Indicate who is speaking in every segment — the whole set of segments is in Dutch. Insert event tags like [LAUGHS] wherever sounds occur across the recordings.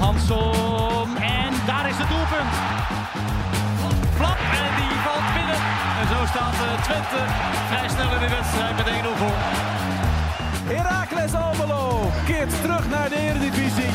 Speaker 1: Jansson. En daar is het doelpunt. Flap en die valt binnen. En zo staat eh, Twente vrij snel in de wedstrijd met 1-0 voor.
Speaker 2: Heracles Almelo keert terug naar de Eredivisie.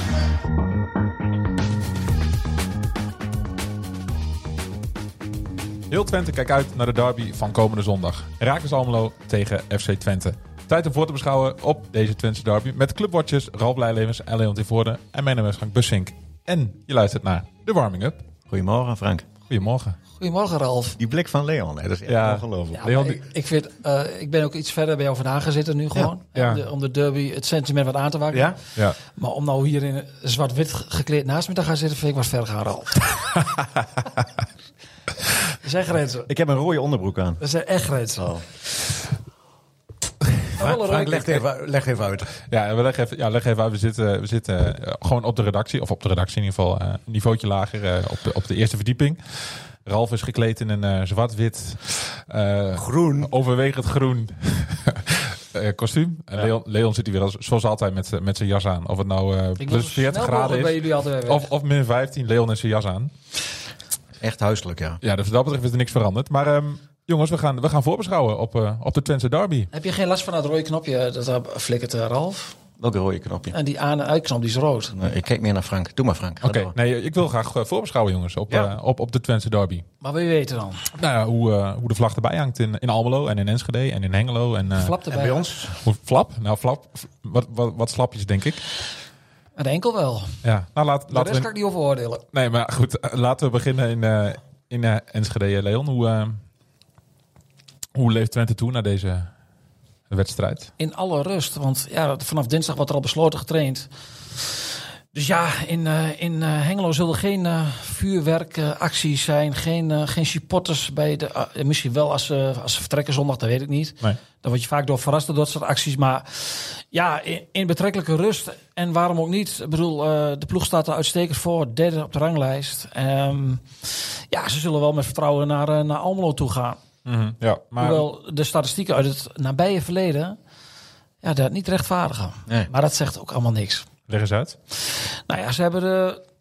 Speaker 3: Heel Twente kijkt uit naar de derby van komende zondag. Raakles Almelo tegen FC Twente. Tijd om voor te beschouwen op deze Twentse derby met clubwatchers Ralf Leijlevens en Leon Tevoorde en mijn naam is Frank Bussink. En je luistert naar de warming up.
Speaker 4: Goedemorgen, Frank.
Speaker 3: Goedemorgen.
Speaker 5: Goedemorgen Ralf.
Speaker 4: Die blik van Leon, hè, dat is echt
Speaker 3: Ja.
Speaker 4: ongelooflijk.
Speaker 5: Ja,
Speaker 3: Leon,
Speaker 5: maar
Speaker 3: die-
Speaker 5: ik, ik, vind, eh, ik ben ook iets verder bij jou vandaan gezeten nu gewoon.
Speaker 3: ja.
Speaker 5: Om, de, om de derby, het sentiment wat aan te wakkeren.
Speaker 4: Ja?
Speaker 3: Ja.
Speaker 5: Maar om nou hier in zwart-wit gekleed naast me te gaan zitten, vind ik wat ver
Speaker 3: [LAUGHS]
Speaker 5: gaan Ralf. Er zijn grenzen.
Speaker 4: Ik heb een rode onderbroek aan.
Speaker 5: Er zijn echt grenzen.
Speaker 3: Oh.
Speaker 5: Alle
Speaker 6: Frank,
Speaker 5: rode-
Speaker 6: leg even, leg even uit.
Speaker 3: Ja, we leggen even, ja, leg even uit. We zitten, we zitten eh, gewoon op de redactie, of op de redactie in ieder geval, eh, een niveautje lager eh, op, de, op de eerste verdieping. Ralf is gekleed in een eh, zwart-wit, eh,
Speaker 6: Groen.
Speaker 3: overwegend groen [LAUGHS] eh, kostuum. En Leon, Leon zit hier weer als, zoals altijd met, z'n- met zijn jas aan. Of het nou eh,
Speaker 5: Ik wil zo
Speaker 3: plus 40
Speaker 5: snel
Speaker 3: graden
Speaker 5: mogelijk bij
Speaker 3: is.
Speaker 5: jullie altijd weer weg.
Speaker 3: Of, of min 15, Leon en zijn jas aan.
Speaker 6: Echt huiselijk, ja.
Speaker 3: Ja, dus wat dat betreft is er niks veranderd. Maar ehm, jongens, we gaan, we gaan voorbeschouwen op, eh, op de Twentse derby.
Speaker 5: Heb je geen last van dat rode knopje dat daar flikkert eh, Ralf?
Speaker 4: Welke rode knopje?
Speaker 5: En die aan- en uitknop die is rood.
Speaker 4: Nee, Eh, ik kijk meer naar Frank. Doe maar, Frank. Ga
Speaker 3: Oké,
Speaker 4: door.
Speaker 3: nee, ik wil graag eh, voorbeschouwen jongens op,
Speaker 4: Ja.
Speaker 3: eh, op, op de Twentse derby.
Speaker 5: Maar wie weet het dan?
Speaker 3: Nou ja, hoe, eh, hoe de vlag erbij hangt in, in Almelo en in Enschede en in Hengelo. En, eh,
Speaker 5: Flap
Speaker 6: En
Speaker 5: erbij.
Speaker 6: bij ons?
Speaker 3: Hoe, flap? Nou, flap. f- Wat, wat, wat slapjes, denk ik.
Speaker 5: Een enkel wel.
Speaker 3: Ja, nou, laat,
Speaker 5: De
Speaker 3: laten
Speaker 5: rest
Speaker 3: we...
Speaker 5: kan ik niet over oordelen.
Speaker 3: Nee, maar goed, eh, laten we beginnen in, eh, in eh, Enschede. Leon, hoe, eh, hoe leeft Twente toe naar deze wedstrijd?
Speaker 5: in alle rust. Want ja, vanaf dinsdag wordt er al besloten getraind. Dus ja, in, eh, in eh, Hengelo zullen geen vuurwerkacties zijn. Geen, eh, geen supporters bij de. eh, misschien wel als, ze als ze vertrekken zondag, dat weet ik niet.
Speaker 3: Nee.
Speaker 5: Dan word je vaak door verrast door dat soort acties. Maar ja, in, in betrekkelijke rust. En waarom ook niet? Ik bedoel, eh, de ploeg staat er uitstekend voor. Derde op de ranglijst. Ehm, ja, ze zullen wel met vertrouwen naar, eh, naar Almelo toe gaan.
Speaker 3: Mhm. Ja, maar
Speaker 5: Hoewel de statistieken uit het nabije verleden ja, dat niet rechtvaardigen.
Speaker 4: Nee.
Speaker 5: Maar dat zegt ook allemaal niks.
Speaker 3: leg eens uit.
Speaker 5: Nou ja, ze hebben de,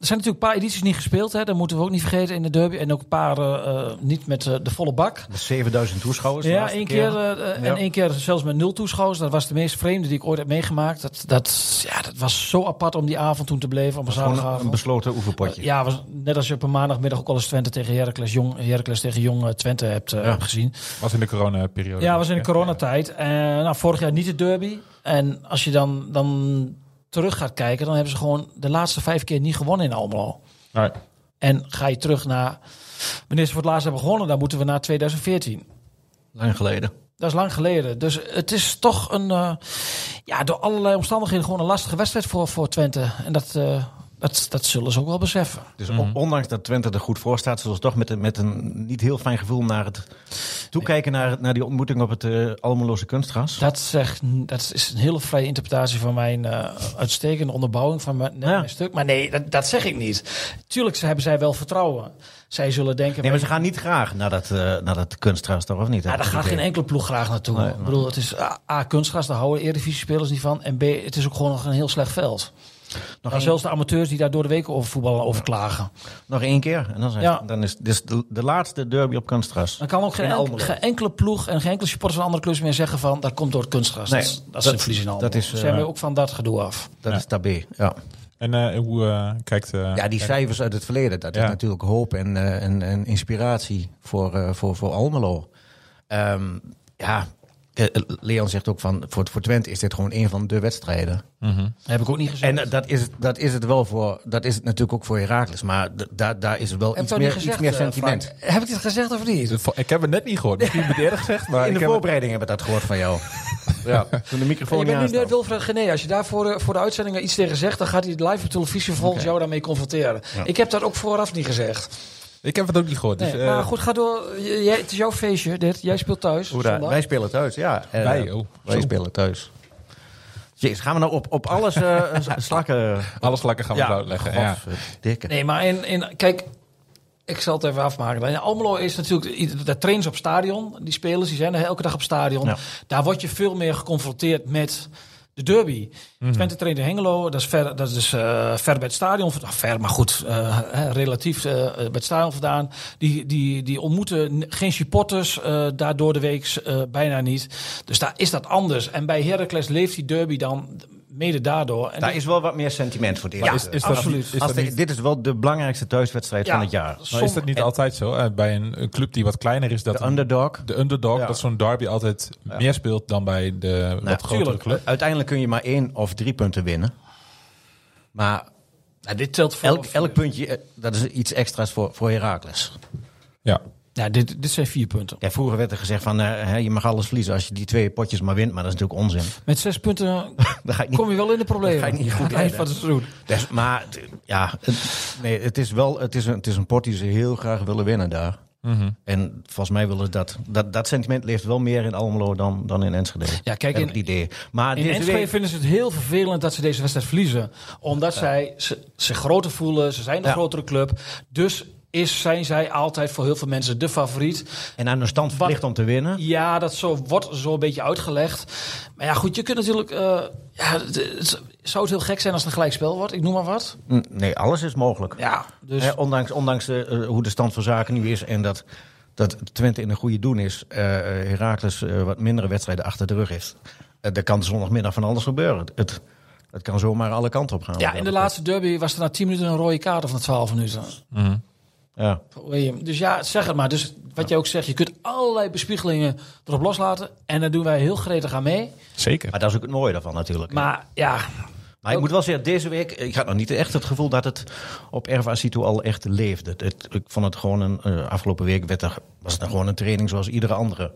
Speaker 5: er zijn natuurlijk een paar edities niet gespeeld. Hè. Dat moeten we ook niet vergeten in de derby. En ook een paar eh, eh, niet met eh, de volle bak.
Speaker 6: Met 7000 toeschouwers. de
Speaker 5: Ja,
Speaker 6: laatste
Speaker 5: één keer, eh, en
Speaker 6: Ja.
Speaker 5: één keer zelfs met nul toeschouwers. Dat was de meest vreemde die ik ooit heb meegemaakt. Dat, dat, ja, dat was zo apart om die avond toen te beleven, op een
Speaker 4: Gewoon een- een
Speaker 5: zaterdagavond.
Speaker 4: besloten oefenpotje.
Speaker 5: Ja, was, net als je op een maandagmiddag ook al eens Twente tegen Heracles, Jong, Heracles tegen Jong eh, Twente hebt eh,
Speaker 4: Ja.
Speaker 5: gezien.
Speaker 3: Was in de coronaperiode.
Speaker 5: Ja, was in de
Speaker 3: Ja.
Speaker 5: coronatijd. Eh, nou, vorig jaar niet de derby. En als je dan, dan terug gaat kijken, dan hebben ze gewoon de laatste vijf keer niet gewonnen in Almelo.
Speaker 3: Nee.
Speaker 5: En ga je terug naar wanneer ze voor het laatst hebben gewonnen, dan moeten we naar 2014.
Speaker 4: Lang geleden.
Speaker 5: Dat is lang geleden. Dus het is toch een, eh, ja, door allerlei omstandigheden gewoon een lastige wedstrijd voor, voor Twente. En dat, eh, dat, dat zullen ze ook wel beseffen.
Speaker 4: Dus on- ondanks dat Twente er goed voor staat, zullen ze toch met, een- met een niet heel fijn gevoel naar het toekijken naar, het- naar die ontmoeting op het eh Almeloze kunstgras.
Speaker 5: Dat, zegt, dat is een hele vrije interpretatie van mijn eh, uitstekende onderbouwing van mijn, net
Speaker 4: Ja.
Speaker 5: mijn stuk. Maar nee, dat, dat zeg ik niet. Tuurlijk ze hebben zij wel vertrouwen. Zij zullen denken...
Speaker 4: Nee, maar ze gaan niet graag naar dat, eh, naar dat kunstgras, toch? Of niet?
Speaker 5: Ja, daar gaat geen enkele ploeg graag naartoe.
Speaker 4: Nee,
Speaker 5: Ik bedoel, het is A, A kunstgras, daar houden Eredivisie-spelers niet van. En B, het is ook gewoon nog een heel slecht veld. Nog
Speaker 4: één-
Speaker 5: zelfs de amateurs die daar door de week over voetballen over klagen.
Speaker 4: Nog één keer. En dan, zijn
Speaker 5: Ja.
Speaker 4: ze- dan is dit
Speaker 6: dus
Speaker 4: is de, de laatste derby op kunstgras.
Speaker 5: Dan kan ook geen,
Speaker 4: In
Speaker 5: enkel-
Speaker 4: Almelo.
Speaker 5: geen enkele ploeg en geen enkele supporter van andere clubs meer zeggen van... dat komt door het kunstgras.
Speaker 4: Nee,
Speaker 5: dat, is- dat is
Speaker 4: dat-
Speaker 5: een verlies in Almelo.
Speaker 4: dat is,
Speaker 5: Ze hebben
Speaker 4: eh,
Speaker 5: ook van dat gedoe af.
Speaker 4: Dat
Speaker 3: Ja.
Speaker 4: is tabé. Ja.
Speaker 3: En eh, hoe eh, kijkt... eh,
Speaker 6: Ja, die
Speaker 3: eh,
Speaker 6: cijfers uit het verleden, dat
Speaker 3: Ja.
Speaker 6: is natuurlijk hoop en, eh, en, en inspiratie voor, eh, voor, voor Almelo. Ehm, ja, eh, Leon zegt ook van, voor, voor Twente is dit gewoon een van de wedstrijden.
Speaker 3: mhm.
Speaker 5: Dat heb ik ook niet gezegd.
Speaker 6: En eh, dat is, het- dat is het wel voor, dat is het natuurlijk ook voor Herakles, maar d- daar daar is het wel
Speaker 5: Heb
Speaker 6: iets
Speaker 5: ik dat niet
Speaker 6: meer,
Speaker 5: gezegd,
Speaker 6: iets meer
Speaker 5: eh,
Speaker 6: sentiment.
Speaker 5: Frank? Heb ik dit gezegd of niet?
Speaker 3: Ik heb het net niet gehoord. Misschien heb ik het eerder gezegd, maar
Speaker 6: In de
Speaker 3: ik heb het-
Speaker 6: voorbereiding hebben we dat gehoord van jou.
Speaker 4: ja. Toen de microfoon
Speaker 5: En je
Speaker 4: niet
Speaker 5: bent nu
Speaker 4: aanstaat.
Speaker 5: net Wilfred Gené. Als je daar voor de, voor de uitzendingen iets tegen zegt, dan gaat hij live op televisie volgens jou daarmee confronteren. Ik heb dat ook vooraf niet gezegd.
Speaker 3: ik heb het ook niet gehoord. Dus,
Speaker 5: Nee,
Speaker 3: eh,
Speaker 5: maar goed, ga door. J- jij- het is jouw feestje, dit. Jij speelt thuis.
Speaker 4: Hoera,
Speaker 5: zondag.
Speaker 6: Wij spelen thuis, ja. Eh,
Speaker 3: Wij, oh.
Speaker 6: Wij
Speaker 3: Zo.
Speaker 6: spelen thuis.
Speaker 4: Jezus, gaan we nou op, op alles
Speaker 6: [LAUGHS]
Speaker 4: eh, s- slakken?
Speaker 3: Alles lekker gaan we het
Speaker 4: Oh,
Speaker 3: uitleggen. Ja.
Speaker 4: Dikke.
Speaker 5: Nee, maar in, in, kijk, ik zal het even afmaken. In Almelo is natuurlijk, i- daar trainen ze op stadion. Die spelers die zijn er elke dag op stadion.
Speaker 4: Ja.
Speaker 5: Daar word je veel meer geconfronteerd met... de derby.
Speaker 4: Mhm.
Speaker 5: Twente traint in Hengelo. Dat is ver, dat is dus, eh, ver bij het stadion. vandaan. Ver, maar goed, eh, hè, relatief eh, bij het stadion vandaan. Die, die, die ontmoeten n- geen supporters eh daardoor de week eh, bijna niet. Dus daar is dat anders. En bij Heracles leeft die derby dan mede daardoor. En
Speaker 4: Daar is wel wat meer sentiment voor dit.
Speaker 3: Maar
Speaker 4: Ja,
Speaker 3: is, is dat
Speaker 5: absoluut.
Speaker 3: niet- is
Speaker 4: Als
Speaker 3: dat
Speaker 4: de-
Speaker 3: niet-
Speaker 4: dit is wel de belangrijkste thuiswedstrijd
Speaker 5: Ja,
Speaker 4: van het jaar.
Speaker 3: maar Nou, is dat niet
Speaker 5: sommige-
Speaker 3: altijd zo? Eh, Bij een, een club die wat kleiner is, dat
Speaker 4: De
Speaker 3: een-
Speaker 4: underdog.
Speaker 3: de underdog,
Speaker 4: Ja.
Speaker 3: dat zo'n derby altijd meer speelt dan bij de wat grotere
Speaker 5: tuurlijk.
Speaker 3: club.
Speaker 4: Nou, Uiteindelijk kun je maar één of drie punten winnen. Maar
Speaker 5: Nou, dit telt voor.
Speaker 4: elk,
Speaker 5: voor-
Speaker 4: elk puntje, eh, dat is iets extra's voor, voor Herakles.
Speaker 3: Ja.
Speaker 5: Ja, dit, dit zijn vier punten.
Speaker 4: Ja, vroeger werd er gezegd van, eh, hè, je mag alles verliezen als je die twee potjes maar wint. Maar dat is natuurlijk onzin.
Speaker 5: Met zes punten
Speaker 4: [LAUGHS] Dat ga ik niet
Speaker 5: [LAUGHS] kom je wel in de problemen.
Speaker 4: Dat ga ik niet goed
Speaker 5: Aan het eind
Speaker 4: leiden.
Speaker 5: van het seizoen.
Speaker 4: Dus, maar t- ja, het, nee, het is wel het is een, het is een pot die ze heel graag willen winnen daar.
Speaker 5: Mhm.
Speaker 4: En volgens mij willen ze dat, dat. Dat sentiment leeft wel meer in Almelo dan, dan in Enschede.
Speaker 5: Ja, kijk,
Speaker 4: Heb
Speaker 5: in-
Speaker 4: ik het idee. Maar
Speaker 5: In
Speaker 4: deze
Speaker 5: Enschede
Speaker 4: week-
Speaker 5: vinden ze het heel vervelend dat ze deze wedstrijd verliezen. Omdat zij ze- zich groter voelen. Ze zijn de
Speaker 4: Ja.
Speaker 5: grotere club. Dus is, zijn zij altijd voor heel veel mensen de favoriet.
Speaker 4: en aan hun stand verplicht om te winnen.
Speaker 5: Ja, dat zo, wordt zo een beetje uitgelegd. Maar ja, goed, je kunt natuurlijk... eh, ja, het- het- zou het heel gek zijn als het een gelijkspel wordt? Ik noem maar wat.
Speaker 4: Mm, Nee, alles is mogelijk.
Speaker 5: Ja, dus...
Speaker 4: Hè, ondanks ondanks de, eh, hoe de stand van zaken nu is en dat, dat Twente in een goede doen is, eh Herakles eh, wat mindere wedstrijden achter de rug heeft. Eh, er kan zondagmiddag van alles gebeuren. Het, het kan zomaar alle kanten op gaan.
Speaker 5: ja, in de laatste derby was er na 10 minuten een rode kaart of na 12 minuten.
Speaker 3: Mhm.
Speaker 4: Ja.
Speaker 5: William. Dus ja, zeg het maar. Dus wat jij ook zegt, je kunt allerlei bespiegelingen erop loslaten. En daar doen wij heel gretig aan mee.
Speaker 3: Zeker.
Speaker 4: Maar dat is ook het mooie daarvan natuurlijk.
Speaker 5: Maar ja,
Speaker 4: Maar ik moet wel zeggen, deze week, ik had nog niet echt het gevoel dat het op Erva Situ al echt leefde. Het, ik vond het gewoon een, eh, afgelopen week werd er, was het dan gewoon een training zoals iedere andere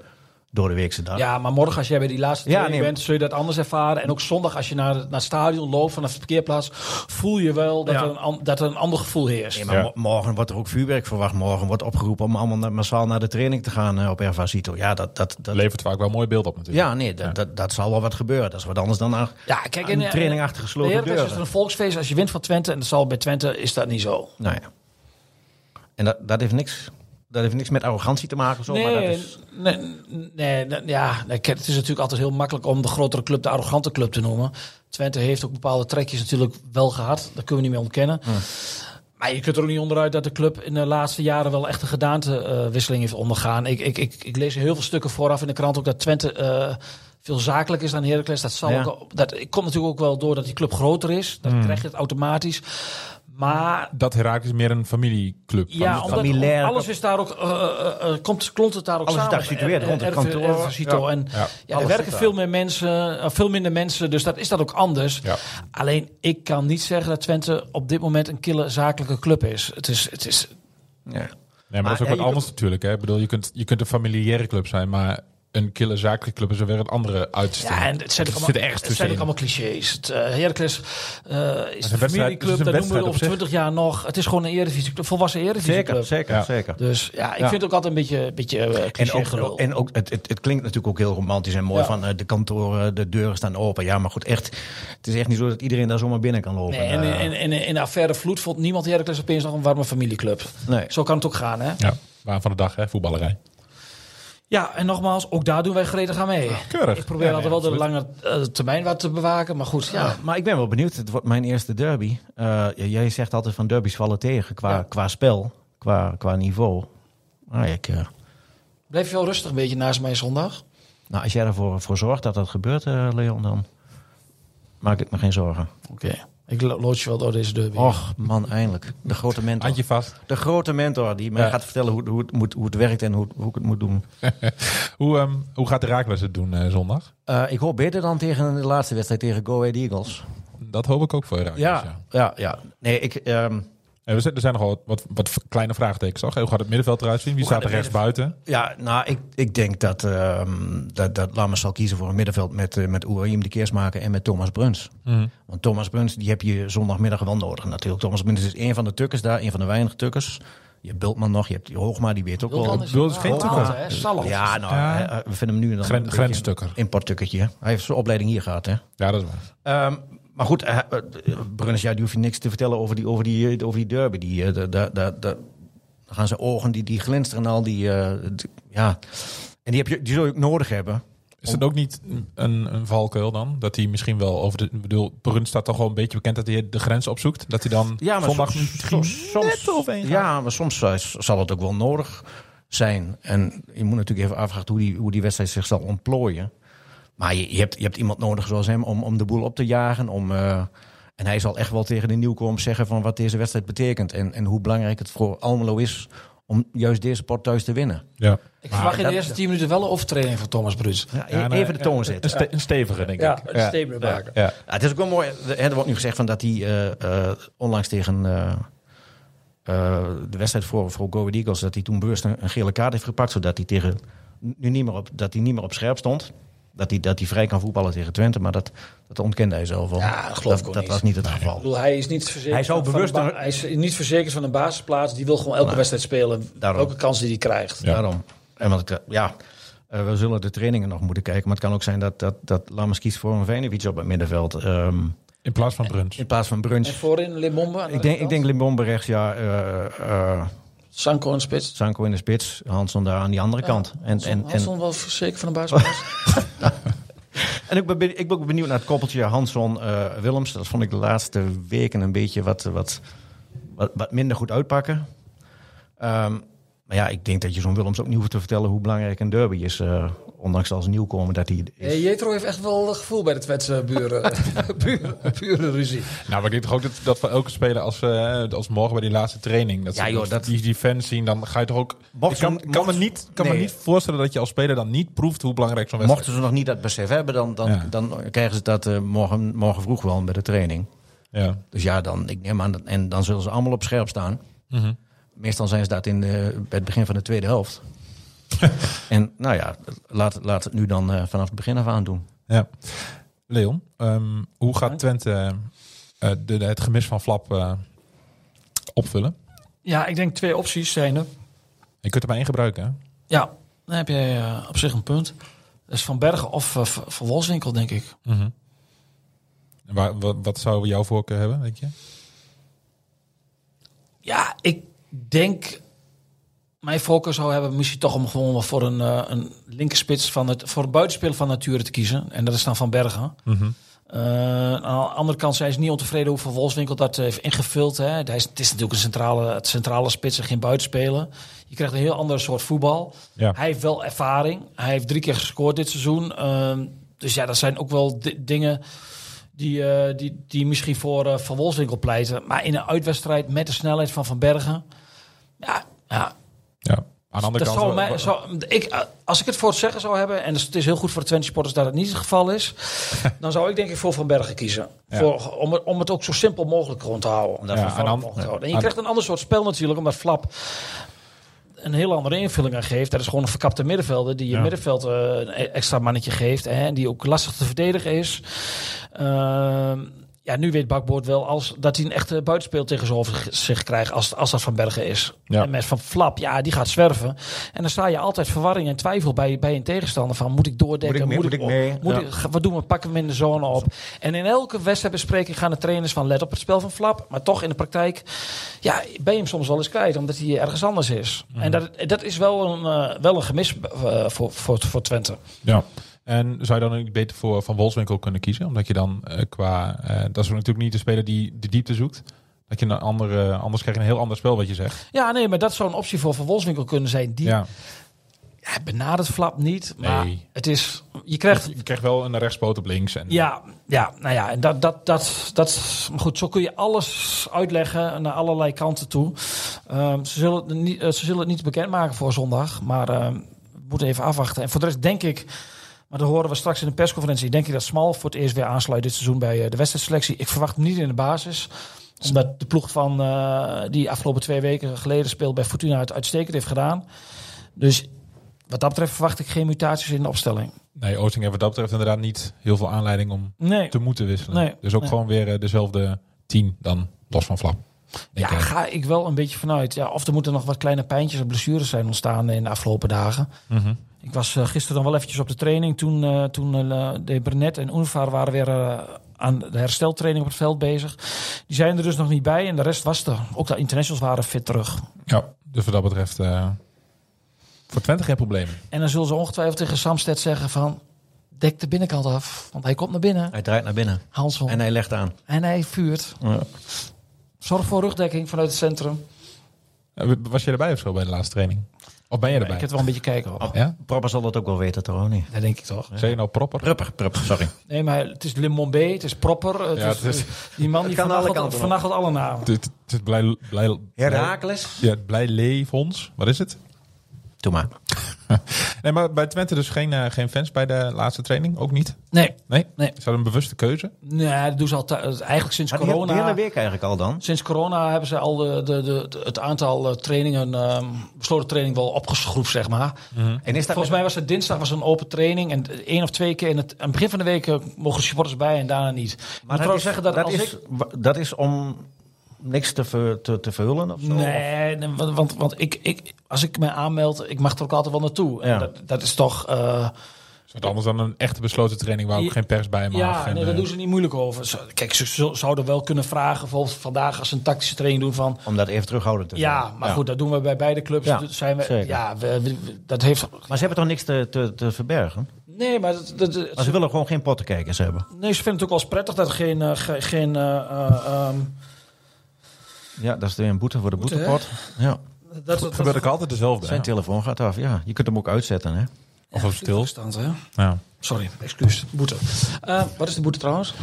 Speaker 4: door de weekse dag.
Speaker 5: ja, maar morgen als jij bij die laatste
Speaker 4: Ja,
Speaker 5: training
Speaker 4: nee,
Speaker 5: bent, zul je dat anders ervaren. En ook zondag als je naar, naar het stadion loopt vanaf de parkeerplaats, voel je wel dat,
Speaker 4: Ja.
Speaker 5: er, een, an- dat er een ander gevoel heerst.
Speaker 4: Nee, maar mo- morgen wordt er ook vuurwerk verwacht. Morgen wordt opgeroepen om allemaal na- massaal naar de training te gaan eh, op Erva Situ. Ja, dat, dat, dat,
Speaker 3: Levert vaak wel mooi beeld op natuurlijk.
Speaker 4: ja, nee, dat, dat, dat zal wel wat gebeuren. Dat is wat anders dan aan,
Speaker 5: ja, kijk,
Speaker 4: aan
Speaker 5: en, eh,
Speaker 4: training achter
Speaker 5: bij
Speaker 4: gesloten
Speaker 5: Heracles is er
Speaker 4: deuren.
Speaker 5: een volksfeest als je wint van Twente. En dat zal bij Twente is dat niet zo.
Speaker 4: Nou ja. En dat, dat, heeft niks, dat heeft niks met arrogantie te maken. of Zo, maar dat is,
Speaker 5: nee, nee, nee, nee, ja, nee, kijk, het is natuurlijk altijd heel makkelijk om de grotere club de arrogante club te noemen. Twente heeft ook bepaalde trekjes natuurlijk wel gehad. Dat kunnen we niet meer ontkennen. Maar je kunt er ook niet onderuit dat de club in de laatste jaren wel echt een gedaantewisseling heeft ondergaan. Ik, ik, ik, ik lees heel veel stukken vooraf in de krant ook dat Twente eh, veel zakelijk is dan Heracles. Dat, zal
Speaker 4: Ja. Mm.
Speaker 5: ook, dat komt natuurlijk ook wel door dat die club groter is. Dan krijg je het automatisch. Maar
Speaker 3: Dat Herakles meer een familieclub.
Speaker 5: ja, omdat
Speaker 4: familiair-
Speaker 5: alles is daar ook, eh, eh, eh, komt, klont het daar ook
Speaker 4: Alles is
Speaker 5: samen.
Speaker 4: daar gesitueerd,
Speaker 5: Eh,
Speaker 4: rond het
Speaker 5: eh,
Speaker 4: kantoor.
Speaker 5: RV Cito.
Speaker 4: Ja.
Speaker 5: En
Speaker 3: Ja.
Speaker 5: ja. er
Speaker 4: Alles
Speaker 5: werken
Speaker 4: zit daar.
Speaker 5: veel meer mensen, eh, veel minder mensen, dus dat is dat ook anders.
Speaker 3: Ja.
Speaker 5: Alleen ik kan niet zeggen dat Twente op dit moment een kille zakelijke club is. Het is, het is
Speaker 4: ja.
Speaker 3: Nee, maar,
Speaker 4: Maar,
Speaker 3: dat is ook
Speaker 4: ja,
Speaker 3: wat
Speaker 4: je
Speaker 3: anders natuurlijk. Hè? Ik bedoel, je kunt, je kunt een familiaire club zijn, maar een kille zakelijke club is er weer een andere uitstraling.
Speaker 5: ja, en het zijn ook
Speaker 3: zit
Speaker 5: allemaal,
Speaker 3: ergens
Speaker 5: het zijn
Speaker 3: tussenin.
Speaker 5: ook allemaal clichés. Het, eh, Heracles eh is een
Speaker 3: wedstrijd- het is
Speaker 5: familieclub,
Speaker 3: een
Speaker 5: dat noemen we
Speaker 3: wedstrijd
Speaker 5: het
Speaker 3: op
Speaker 5: over
Speaker 3: zich.
Speaker 5: 20 jaar nog. Het is gewoon een eredivisie, een volwassen
Speaker 4: Zeker,
Speaker 5: eredivisieclub.
Speaker 4: zeker,
Speaker 3: Ja.
Speaker 4: zeker.
Speaker 5: Dus ja, ik
Speaker 4: Ja.
Speaker 5: vind het ook altijd een beetje, beetje eh,
Speaker 4: En
Speaker 5: cliché gelul.
Speaker 4: ook, en ook het, het, het klinkt natuurlijk ook heel romantisch en mooi
Speaker 5: Ja.
Speaker 4: van eh, de kantoren, de deuren staan open. Ja, maar goed, echt, het is echt niet zo dat iedereen daar zomaar binnen kan lopen.
Speaker 5: Nee, en,
Speaker 4: Eh,
Speaker 5: en, en, en in de affaire Vloed vond niemand Heracles opeens nog een warme familieclub.
Speaker 4: nee.
Speaker 5: Zo kan het ook gaan, hè?
Speaker 3: Ja, waar van de dag, hè? voetballerij.
Speaker 5: Ja, en nogmaals, ook daar doen wij gretig aan mee.
Speaker 3: Keurig.
Speaker 5: Ik probeer
Speaker 3: Ja,
Speaker 5: altijd
Speaker 3: nee,
Speaker 5: wel de lange eh, termijn wat te bewaken, maar goed, ja.
Speaker 4: Ja, maar ik ben wel benieuwd. Het wordt mijn eerste derby. Eh, j- jij zegt altijd van derbies vallen tegen qua,
Speaker 5: Ja.
Speaker 4: qua spel, qua, qua niveau. Maar ik, eh,
Speaker 5: Blijf je wel rustig een beetje naast mij zondag?
Speaker 4: nou, als jij ervoor voor zorgt dat dat gebeurt, eh, Leon, dan maak ik me geen zorgen.
Speaker 5: Oké. Ik lo- lood je wel door deze derby.
Speaker 4: Och man, eindelijk. De grote mentor.
Speaker 3: Handje vast. [LAUGHS]
Speaker 4: De grote mentor die mij
Speaker 3: Ja.
Speaker 4: gaat vertellen hoe, hoe, het moet, hoe het werkt en hoe, hoe ik het moet doen.
Speaker 3: Hoe, ehm, hoe gaat Herakles het doen eh, zondag?
Speaker 4: Eh, ik hoop beter dan tegen de laatste wedstrijd tegen Go Ahead Eagles.
Speaker 3: Dat hoop ik ook voor Herakles. Ja.
Speaker 4: Ja, ja, ja. Nee, ik, ehm,
Speaker 3: En we zijn, er zijn nogal wat, wat, wat kleine vraagtekens, toch? Hoe gaat het middenveld eruit zien? Wie staat er rechts buiten?
Speaker 4: ja, nou, ik, ik denk dat, ehm dat, dat Lammers zal kiezen voor een middenveld met, eh, met Oerahim de Keersmaker en met Thomas Bruns.
Speaker 3: Mhm.
Speaker 4: Want Thomas Bruns, die heb je zondagmiddag wel nodig natuurlijk. Thomas Bruns is een van de tukkers daar, een van de weinige tukkers. Je hebt Bultman nog, je hebt die Hoogma, die weet ook wel...
Speaker 5: Wildan is
Speaker 3: Wildan is geen
Speaker 5: een
Speaker 3: tukker.
Speaker 5: aantal, hè? Salland.
Speaker 4: Ja, nou,
Speaker 3: Ja.
Speaker 4: eh, eh, we vinden hem nu dan
Speaker 3: Gren-
Speaker 4: een beetje een
Speaker 3: grenstukker.
Speaker 4: Importtukkertje. hè. Hij heeft zijn opleiding hier gehad, hè?
Speaker 3: Ja, dat is waar.
Speaker 4: Ehm, maar goed, eh, eh, Bruns, ja, die hoef je niks te vertellen over die, over die, eh, over die derby. Die, eh, da- da- da- da- dan gaan zijn ogen die, die glinsteren en al die, eh, d- ja. En die, heb je, die zul je ook nodig hebben.
Speaker 3: Is het ook niet een, een valkuil dan? Dat hij misschien wel over de... Ik bedoel, Bruns staat toch wel een beetje bekend dat hij de grens opzoekt. Dat hij dan
Speaker 4: Ja, maar
Speaker 3: zondag
Speaker 4: soms-
Speaker 3: misschien
Speaker 4: soms- soms-
Speaker 3: net overheen gaat.
Speaker 4: Ja, maar soms eh, s- zal het ook wel nodig zijn. En je moet natuurlijk even afvragen hoe die, hoe die wedstrijd zich zal ontplooien. Maar je, je, hebt, je hebt iemand nodig zoals hem om, om de boel op te jagen. Om, eh, en hij zal echt wel tegen de nieuwkomers zeggen van wat deze wedstrijd betekent. En, en hoe belangrijk het voor Almelo is om juist deze pot thuis te winnen.
Speaker 3: Ja.
Speaker 5: Ik verwacht in de
Speaker 4: dat-
Speaker 5: eerste 10 minuten wel een overtreding van Thomas Bruns.
Speaker 4: Ja, e-
Speaker 3: Ja, nou,
Speaker 4: even de toon zetten.
Speaker 3: Een, ste- een stevige, denk
Speaker 5: Ja,
Speaker 3: ik.
Speaker 5: een statement maken.
Speaker 3: Ja.
Speaker 4: Ja, Ah, het is ook wel mooi. Er er wordt nu gezegd van dat hij eh, eh, onlangs tegen eh, eh, de wedstrijd voor, voor Go Ahead Eagles... dat hij toen bewust een, een gele kaart heeft gepakt... zodat hij, tegen, nu niet meer op, dat hij niet meer op scherp stond. Dat hij, dat hij vrij kan voetballen tegen Twente. Maar dat, dat ontkende hij zelf al.
Speaker 5: Ja, dat geloof ik
Speaker 4: dat,
Speaker 5: ook
Speaker 4: dat
Speaker 5: niet.
Speaker 4: was niet het
Speaker 5: Ik
Speaker 4: geval.
Speaker 5: bedoel, hij is niet verzekerd,
Speaker 4: Hij zou
Speaker 5: van-
Speaker 4: bewust
Speaker 5: van een
Speaker 4: een-
Speaker 5: ba- hij is niet verzekerd van een basisplaats. Die wil gewoon elke wedstrijd spelen.
Speaker 4: Daarom.
Speaker 5: Elke kans die hij krijgt.
Speaker 3: Ja.
Speaker 4: Daarom. En want ik, eh, ja, eh, we zullen de trainingen nog moeten kijken. Maar het kan ook zijn dat, dat, dat Lammers kiest voor een Venovic op het middenveld. ehm,
Speaker 3: In plaats van Bruns.
Speaker 4: in plaats van Bruns.
Speaker 5: En voorin Limbombe. aan de
Speaker 4: Ik denk, ik
Speaker 5: rechterkant.
Speaker 4: denk Limbombe rechts, ja... eh, eh,
Speaker 5: Sanko in spits.
Speaker 4: Sanko in de spits, Hanson daar aan die andere kant. En, en, en,
Speaker 5: Hanson wel verzekerd van een [LAUGHS] basisplaats.
Speaker 4: en ik, ben, benieu- ik ben ook benieuwd naar het koppeltje Hanson-Willems. dat vond ik de laatste weken een beetje wat, wat, wat, wat minder goed uitpakken. Ehm, maar ja, ik denk dat je zo'n Willems ook niet hoeft te vertellen hoe belangrijk een derby is. eh, ondanks als nieuwkomer dat hij is.
Speaker 5: Hey, Jetro heeft echt wel een gevoel bij de Twentse [LAUGHS] buren. buren, buren ruzie.
Speaker 3: Nou, maar ik denk toch ook dat, dat voor elke speler als, eh, als morgen bij die laatste training. Dat
Speaker 4: Ja,
Speaker 3: ze
Speaker 4: joh, dat-
Speaker 3: die, die fans zien, dan ga je toch ook.
Speaker 4: Mocht
Speaker 3: ik kan,
Speaker 4: ze-
Speaker 3: kan, me
Speaker 4: mocht-
Speaker 3: niet, kan me
Speaker 4: nee.
Speaker 3: niet voorstellen dat je als speler dan niet proeft hoe belangrijk zo'n wedstrijd
Speaker 4: Mochten ze nog niet dat besef hebben, dan, dan,
Speaker 3: Ja.
Speaker 4: dan krijgen ze dat eh, morgen, morgen vroeg wel bij de training.
Speaker 3: is. Ja.
Speaker 4: Dus ja, dan, ik neem aan, dat- en dan zullen ze allemaal op scherp staan.
Speaker 3: Mhm.
Speaker 4: Meestal zijn ze dat in de, bij het begin van de tweede [LAUGHS] helft. en nou ja, laat, laat het nu dan eh, vanaf het begin af aan doen.
Speaker 3: ja. Leon, ehm, hoe gaat Twente eh, eh, de, de- het gemis van Flap eh, opvullen?
Speaker 5: Ja, ik denk twee opties zijn er.
Speaker 3: Je kunt er maar één gebruiken. Hè?
Speaker 5: Ja, dan heb je eh, op zich een punt. Dat is Van Bergen of eh, Van Van Wolfswinkel, denk ik.
Speaker 3: Mhm. En Waar, wat, wat zou jouw voorkeur hebben, denk je?
Speaker 5: Ja, ik denk... Mijn voorkeur zou hebben misschien toch om gewoon wel voor een, eh, een linkerspits van het, voor een buitenspeler van nature te kiezen. En dat is dan Van Bergen.
Speaker 3: Mhm.
Speaker 5: Eh, aan de andere kant zijn ze niet ontevreden hoe Van Wolfswinkel dat heeft ingevuld. Hè. Hij is, het is natuurlijk een centrale, het centrale spits en geen buitenspeler. Je krijgt een heel ander soort voetbal.
Speaker 3: Ja.
Speaker 5: Hij heeft wel ervaring. Hij heeft drie keer gescoord dit seizoen. Ehm, dus ja, dat zijn ook wel di- dingen die, eh, die, die misschien voor eh, Van Wolfswinkel pleiten. Maar in een uitwedstrijd met de snelheid van Van Bergen... Ja, ja,
Speaker 3: Ja. Aan de andere
Speaker 5: dat
Speaker 3: kant.
Speaker 5: zou
Speaker 3: wa-
Speaker 5: mij,
Speaker 3: wa-
Speaker 5: zou- ik, eh, als ik het voor het zeggen zou hebben, en het is heel goed voor de Twente supporters dat het niet het
Speaker 3: [LAUGHS]
Speaker 5: geval is, dan zou ik denk ik voor Van Bergen kiezen.
Speaker 3: Ja.
Speaker 5: Voor, om, het, om het ook zo simpel mogelijk gewoon te houden.
Speaker 3: Ja,
Speaker 5: Van
Speaker 3: en
Speaker 5: Valk
Speaker 3: dan-
Speaker 5: mogelijk te houden. En
Speaker 3: aan-
Speaker 5: je krijgt een ander soort spel natuurlijk, omdat Flap een heel andere invulling aan geeft. Dat is gewoon een verkapte middenvelder die je
Speaker 3: Ja.
Speaker 5: middenveld eh, een extra mannetje geeft. Hè, die ook lastig te verdedigen is. Ehm, ja, nu weet Bakboord wel als, dat hij een echte buitenspeel tegen zijn hoofd zich krijgt. Als, als dat Van Bergen is.
Speaker 3: Ja.
Speaker 5: En met Van Flap, ja, die gaat zwerven. En dan sta je altijd verwarring en twijfel bij, bij een tegenstander. Van moet ik doordekken?
Speaker 4: Moet ik mee? Moet ik mee?
Speaker 5: Moet
Speaker 4: Ja.
Speaker 5: ik- ga- wat doen we? Pakken we hem in de zone op. En in elke wedstrijdbespreking gaan de trainers van let op het spel van Flap. Maar toch in de praktijk ja, ben je hem soms wel eens kwijt, omdat hij ergens anders is.
Speaker 4: Mhm.
Speaker 5: En dat, dat is wel een, eh, wel een gemis eh, voor, voor, voor Twente.
Speaker 3: Ja. En zou je dan ook niet beter voor Van Wolfswinkel kunnen kiezen? Omdat je dan eh, qua... eh, dat is natuurlijk niet de speler die de diepte zoekt. Dat je een andere... Anders krijg je een heel ander spel wat je zegt.
Speaker 5: Ja, nee, maar dat zou een optie voor Van Wolfswinkel kunnen zijn. Die
Speaker 3: Ja.
Speaker 5: hij benadert Flap niet, maar
Speaker 3: Nee.
Speaker 5: het is... Je krijgt...
Speaker 3: Je krijgt wel een rechtspoot op links. En,
Speaker 5: Ja, ja, nou ja, en dat, dat, dat, dat, maar goed, zo kun je alles uitleggen naar allerlei kanten toe. Ehm, ze, zullen het niet, eh, ze zullen het niet bekendmaken voor zondag, maar ehm, we moeten even afwachten. En voor de rest denk ik, maar dat horen we straks in de persconferentie, denk ik dat Smal voor het eerst weer aansluit dit seizoen bij eh, de wedstrijdselectie. Ik verwacht hem niet in de basis, omdat de ploeg van eh, die afgelopen twee weken geleden speelde bij Fortuna het uitstekend heeft gedaan. Dus wat dat betreft verwacht ik geen mutaties in de opstelling.
Speaker 3: Nee, Oosting heeft wat dat betreft inderdaad niet heel veel aanleiding om
Speaker 5: Nee.
Speaker 3: te moeten wisselen.
Speaker 5: Nee,
Speaker 3: dus ook
Speaker 5: nee.
Speaker 3: gewoon weer eh, dezelfde tien dan los van Flap.
Speaker 5: Ja,
Speaker 3: denk ik.
Speaker 5: ga ik wel een beetje vanuit. Ja, of er moeten nog wat kleine pijntjes en blessures zijn ontstaan in de afgelopen dagen.
Speaker 3: Mhm.
Speaker 5: Ik was eh, gisteren dan wel eventjes op de training. Toen, eh, toen eh, de Brenet en Unvar waren weer eh, aan de hersteltraining op het veld bezig. Die zijn er dus nog niet bij en de rest was er. Ook de internationals waren fit terug.
Speaker 3: Ja, dus wat dat betreft... eh, voor Twente geen probleem.
Speaker 5: En dan zullen ze ongetwijfeld tegen Samsted zeggen van... dekt de binnenkant af. Want hij komt naar binnen.
Speaker 4: Hij draait naar binnen
Speaker 5: Hans van.
Speaker 4: en hij legt aan.
Speaker 5: En hij vuurt.
Speaker 4: Ja.
Speaker 5: Zorg voor rugdekking vanuit het centrum.
Speaker 3: Eh, Was jij erbij of zo bij de laatste training? Of ben je
Speaker 5: Ik
Speaker 3: erbij?
Speaker 5: heb het wel een beetje kijken. Hoor.
Speaker 3: Ja?
Speaker 4: Propper zal dat ook wel weten, Toroni.
Speaker 5: Dat denk ik toch.
Speaker 3: Zeg je nou propper?
Speaker 4: Prupper, prupper, sorry.
Speaker 5: Nee, maar het is Limombé, het is proper. Het
Speaker 3: Ja,
Speaker 5: is, eh,
Speaker 3: het is-
Speaker 5: Die man die
Speaker 4: kan alle
Speaker 5: vannacht
Speaker 4: kanten op.
Speaker 5: alle, alle namen.
Speaker 3: Het- Het is blij, blij, blij,
Speaker 4: Herakles.
Speaker 3: ja, blij leefons. Wat is het?
Speaker 4: Doe maar.
Speaker 3: Nee, maar bij Twente dus geen, eh, geen fans bij de laatste training? Ook niet?
Speaker 5: Nee,
Speaker 3: Nee?
Speaker 5: Nee.
Speaker 3: Is dat een bewuste keuze?
Speaker 5: nee, dat doen ze altijd. eh, Eigenlijk sinds
Speaker 4: Maar die hele-
Speaker 5: corona.
Speaker 4: die hele week eigenlijk al dan.
Speaker 5: Sinds corona hebben ze al de, de, de, de- het aantal eh, trainingen, ehm, besloten training wel opgeschroefd, zeg maar.
Speaker 4: En is dat
Speaker 5: Volgens mij was het dinsdag was een open training. En één of twee keer in het, aan het begin van de week eh, mogen supporters bij en daarna niet. Maar ik moet
Speaker 4: dat
Speaker 5: trouwens
Speaker 4: is,
Speaker 5: zeggen dat, als
Speaker 4: is,
Speaker 5: ik...
Speaker 4: wa- dat is om niks te, ver, te, te verhullen of zo? Of-
Speaker 5: Nee, nee, want, want, want ik, ik, als ik me aanmeld, ik mag er ook altijd wel naartoe. En
Speaker 4: Ja.
Speaker 5: dat, dat is toch... eh,
Speaker 3: Is dat anders dan een echte besloten training waar ook
Speaker 5: Ja,
Speaker 3: geen pers bij mag?
Speaker 5: Ja,
Speaker 3: en,
Speaker 5: nee, daar
Speaker 3: eh,
Speaker 5: doen ze niet moeilijk over. Zo- Kijk, ze zo- zouden wel kunnen vragen, bijvoorbeeld vandaag als ze een tactische training doen van...
Speaker 4: Om dat even terughoudend te
Speaker 5: Ja,
Speaker 4: zijn.
Speaker 5: maar goed, dat doen we bij beide clubs.
Speaker 4: Ja,
Speaker 5: Dat zijn we,
Speaker 4: zeker.
Speaker 5: ja, we- we- we- dat heeft...
Speaker 4: Maar ze hebben toch niks te, te, te verbergen?
Speaker 5: Nee, maar dat, dat, dat-
Speaker 4: Maar ze willen gewoon geen pottenkijkers hebben.
Speaker 5: nee, ze vinden het ook wel eens prettig dat er geen... eh, ge- geen eh, eh, ehm,
Speaker 4: Ja, dat is weer een boete voor de
Speaker 5: Boete,
Speaker 4: boetepot. Ja.
Speaker 5: dat- dat, dat,
Speaker 3: gebeurt ook altijd dezelfde.
Speaker 4: Zijn
Speaker 3: hè?
Speaker 4: telefoon gaat af. Ja, je kunt hem ook uitzetten. Hè?
Speaker 3: Of op stil.
Speaker 5: Toestand, hè?
Speaker 3: Ja.
Speaker 5: Sorry, excuus. Boete. Eh, wat is de boete trouwens?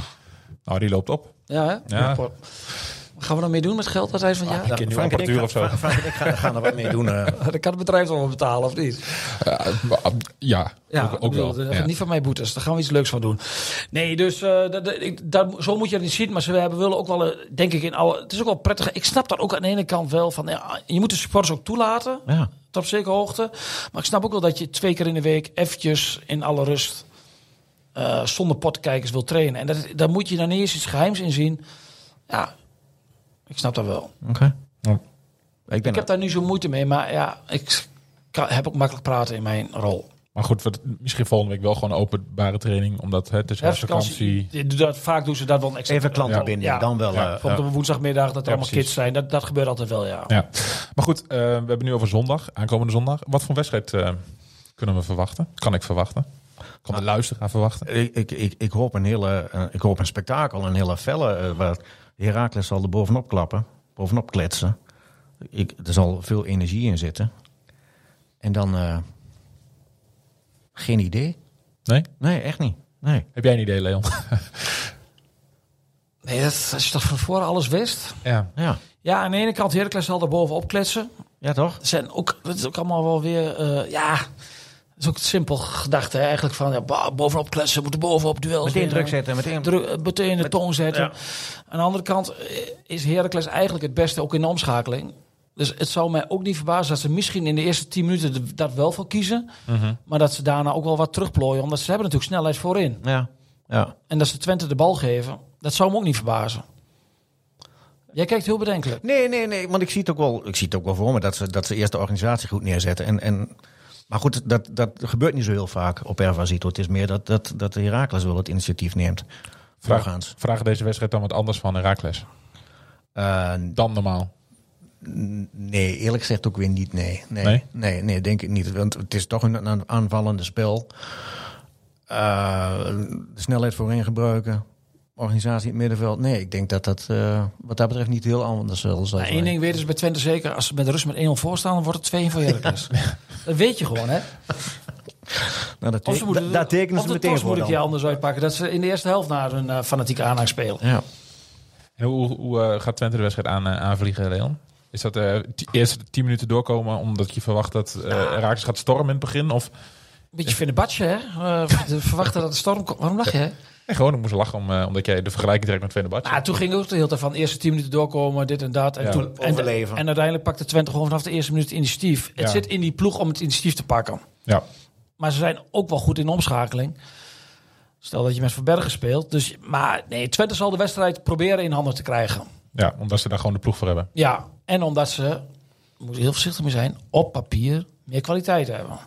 Speaker 3: Nou, die loopt op.
Speaker 5: Ja, hè?
Speaker 3: Ja.
Speaker 5: Wat gaan we dan mee doen met geld dat hij van ja? [LAUGHS]
Speaker 3: Ik ken nu
Speaker 4: Frank en ik
Speaker 3: apparatuur
Speaker 4: ga-
Speaker 3: of zo.
Speaker 4: Frank en ik ga- gaan er wat mee doen. eh.
Speaker 5: Dat kan het bedrijf toch wel betalen, of niet?
Speaker 3: Eh, ja,
Speaker 5: Ja,
Speaker 3: ook,
Speaker 5: ik
Speaker 3: ook
Speaker 5: bedoel,
Speaker 3: wel.
Speaker 5: dat
Speaker 3: Ja.
Speaker 5: gaat Niet van mij boetes, daar gaan we iets leuks van doen. Nee, dus eh, dat, dat- ik- dat- zo moet je het niet zien. Maar ze hebben willen ook wel, eh, denk ik, in alle. Het is ook wel prettig. Ik snap dat ook aan de ene kant wel. Van, ja, je moet de supporters ook toelaten,
Speaker 4: Ja.
Speaker 5: tot op zekere hoogte. Maar ik snap ook wel dat je twee keer in de week eventjes in alle rust eh, zonder potkijkers wil trainen. En dat, daar moet je dan eerst iets geheims in zien. Ja, ik snap dat wel.
Speaker 4: Oké.
Speaker 3: Ja.
Speaker 4: Ik ben
Speaker 5: Ik heb daar nu zo moeite mee, maar ja, ik kan, heb ook makkelijk praten in mijn rol.
Speaker 3: Maar goed, wat- misschien volgende week wel gewoon openbare training. Omdat hè, het is herfstvakantie.
Speaker 5: Je doet Dat, vaak doen ze dat wel een extra.
Speaker 4: even klanten
Speaker 3: Ja.
Speaker 4: binnen.
Speaker 5: Ja.
Speaker 4: Dan wel.
Speaker 3: Ja.
Speaker 4: eh,
Speaker 5: Bijvoorbeeld op een woensdagmiddag dat er
Speaker 3: Ja,
Speaker 5: allemaal
Speaker 3: precies.
Speaker 5: kids zijn. Dat, dat gebeurt altijd wel, ja.
Speaker 3: Ja. Maar goed, eh, we hebben het nu over zondag. Aankomende zondag. Wat voor wedstrijd eh, kunnen we verwachten? Kan ik verwachten? Kan de luisteraar verwachten?
Speaker 4: Ik, ik, ik, ik, hoop een hele, eh, ik hoop een spektakel, een hele felle. eh, waar Herakles zal er bovenop klappen, bovenop kletsen. Ik, er zal veel energie in zitten. En dan. eh, geen idee.
Speaker 3: Nee?
Speaker 4: Nee, echt niet. Nee.
Speaker 3: Heb jij een idee, Leon?
Speaker 5: Nee, dat, als je toch van tevoren alles wist.
Speaker 3: ja.
Speaker 4: Ja,
Speaker 5: Ja, aan de ene kant Heracles zal er bovenop kletsen.
Speaker 4: ja toch?
Speaker 5: Er Zijn ook, dat is ook allemaal wel weer, eh, ja... Dat is ook simpel gedacht, hè, eigenlijk. Van, ja, ba- bovenop kletsen, we moeten bovenop duels
Speaker 4: Meteen
Speaker 5: winnen.
Speaker 4: druk zetten, meteen.
Speaker 5: Druk- eh, meteen de toon zetten.
Speaker 4: ja.
Speaker 5: Aan de andere kant eh, is Heracles eigenlijk het beste ook in de omschakeling. Dus het zou mij ook niet verbazen dat ze misschien in de eerste 10 minuten de- dat wel voor kiezen.
Speaker 3: Mhm.
Speaker 5: Maar dat ze daarna ook wel wat terugplooien. Omdat ze hebben natuurlijk snelheid voorin.
Speaker 4: Ja, ja.
Speaker 5: En dat ze Twente de bal geven, dat zou me ook niet verbazen. Jij kijkt heel bedenkelijk.
Speaker 4: Nee, nee, nee, want ik zie het ook wel, ik zie het ook wel voor me dat ze, dat ze eerst de organisatie goed neerzetten. En, en, maar goed, dat, dat gebeurt niet zo heel vaak op Ervasito. Het is meer dat, dat, dat Herakles wel het initiatief neemt.
Speaker 3: Vraag,
Speaker 4: Voorgaans.
Speaker 3: vraag deze wedstrijd dan wat anders van Herakles.
Speaker 4: Eh,
Speaker 3: Dan normaal.
Speaker 4: nee, eerlijk gezegd ook weer niet. Nee, nee,
Speaker 3: Nee?
Speaker 4: nee, nee, denk ik niet. Want het is toch een een aanvallende spel. Eh, de snelheid voorin gebruiken, organisatie in het middenveld. Nee, ik denk dat dat eh, wat dat betreft niet heel anders zal zijn.
Speaker 5: Eén Nou, ding weten ze bij Twente zeker. Als ze met rust met 1-0 voor staan, dan wordt het 2
Speaker 4: [LAUGHS]
Speaker 5: voor Heracles. Dat weet je gewoon, hè?
Speaker 4: Nou, dat,
Speaker 5: Of
Speaker 4: te-
Speaker 5: ze moeten,
Speaker 4: da- daar tekenen
Speaker 5: of
Speaker 4: ze
Speaker 5: de
Speaker 4: meteen
Speaker 5: tos
Speaker 4: voor
Speaker 5: moet ik je
Speaker 4: dan.
Speaker 5: anders uitpakken. Dat ze in de eerste helft naar hun eh, fanatieke aanhang spelen.
Speaker 4: Ja.
Speaker 3: En hoe, hoe eh, gaat Twente de wedstrijd aan, eh, aanvliegen, Leon? Is dat eh die eerste tien minuten doorkomen omdat je verwacht dat eh Herakles gaat stormen in het begin? Of
Speaker 5: Beetje Fenerbahce, hè? Eh, de verwachten dat de storm komt. Waarom lach je, hè?
Speaker 3: nee, gewoon, ik moest lachen om, eh, omdat jij de vergelijking trekt met Fenerbahce.
Speaker 5: Nou, toen ging ook de hele tijd van de eerste 10 minuten doorkomen, dit en dat. En,
Speaker 3: Ja.
Speaker 5: toen, en,
Speaker 4: Overleven.
Speaker 5: en uiteindelijk pakte Twente gewoon vanaf de eerste minuut het initiatief. Het
Speaker 3: Ja.
Speaker 5: zit in die ploeg om het initiatief te pakken.
Speaker 3: Ja.
Speaker 5: Maar ze zijn ook wel goed in de omschakeling. Stel dat je met Verbergen speelt. Dus, maar nee, Twente zal de wedstrijd proberen in handen te krijgen.
Speaker 3: ja, omdat ze daar gewoon de ploeg voor hebben.
Speaker 5: Ja, en omdat ze, daar moet je heel voorzichtig mee zijn, op papier meer kwaliteit hebben.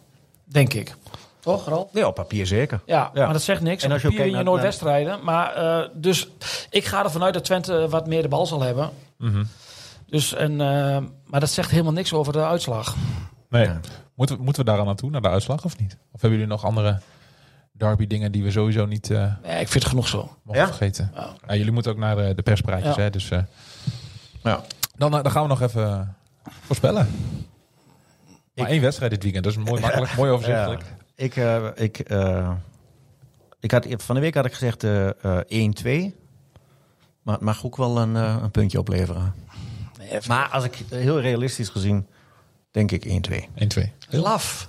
Speaker 5: Denk ik. Toch, Ralf?
Speaker 4: Nee, op papier zeker.
Speaker 5: Ja,
Speaker 4: Ja.
Speaker 5: maar dat zegt niks.
Speaker 4: En
Speaker 5: En
Speaker 4: als
Speaker 5: als
Speaker 4: je
Speaker 5: je
Speaker 4: ook
Speaker 5: papier win
Speaker 4: kijkt
Speaker 5: je
Speaker 4: naar-
Speaker 5: nooit wedstrijden. Maar, eh, dus ik ga ervan uit dat Twente wat meer de bal zal hebben.
Speaker 3: Mhm.
Speaker 5: Dus, en, eh, maar dat zegt helemaal niks over de uitslag.
Speaker 3: Nee.
Speaker 4: Ja.
Speaker 3: Moeten, we- moeten we daar aan naartoe, naar de uitslag of niet? Of hebben jullie nog andere derby dingen die we sowieso niet eh,
Speaker 5: Nee, ik vind het genoeg zo.
Speaker 3: mogen
Speaker 4: Ja?
Speaker 3: vergeten.
Speaker 5: Ja.
Speaker 3: Ja, jullie moeten ook naar eh, de perspraatjes,
Speaker 5: Ja.
Speaker 3: hè? Dus, eh,
Speaker 4: Ja.
Speaker 3: dan, eh, dan gaan we nog even voorspellen. Maar één wedstrijd dit weekend, dat is mooi makkelijk, mooi overzichtelijk.
Speaker 4: Ja. Ik, eh, ik, eh, ik had, van de week had ik gezegd eh, eh 1-2. Maar het mag ook wel een, eh, een puntje opleveren.
Speaker 5: Nee, even-
Speaker 4: Maar als ik eh, heel realistisch gezien, denk ik 1-2.
Speaker 3: 1-2.
Speaker 5: laf.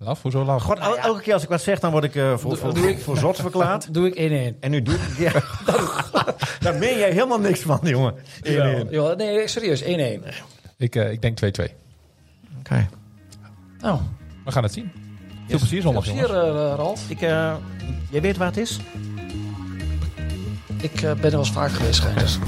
Speaker 3: Laf, hoezo laf?
Speaker 4: God, el- elke keer als ik wat zeg, dan word ik eh, voor, voor, voor, zot verklaard.
Speaker 5: Doe ik 1-1.
Speaker 4: [LAUGHS] En nu doe ik... Ja, daar meen jij helemaal niks van, jongen. 1-1. Oké.
Speaker 5: Ja, nee, serieus, 1-1.
Speaker 3: Ik, eh, ik denk 2-2.
Speaker 5: Nou,
Speaker 3: We gaan het zien. Veel plezier zondag,
Speaker 5: hier
Speaker 3: jongens.
Speaker 5: eh Ralf.
Speaker 4: Ik, eh, jij weet waar het is?
Speaker 5: Ik eh, ben er wel eens vaak geweest, schijnt dus.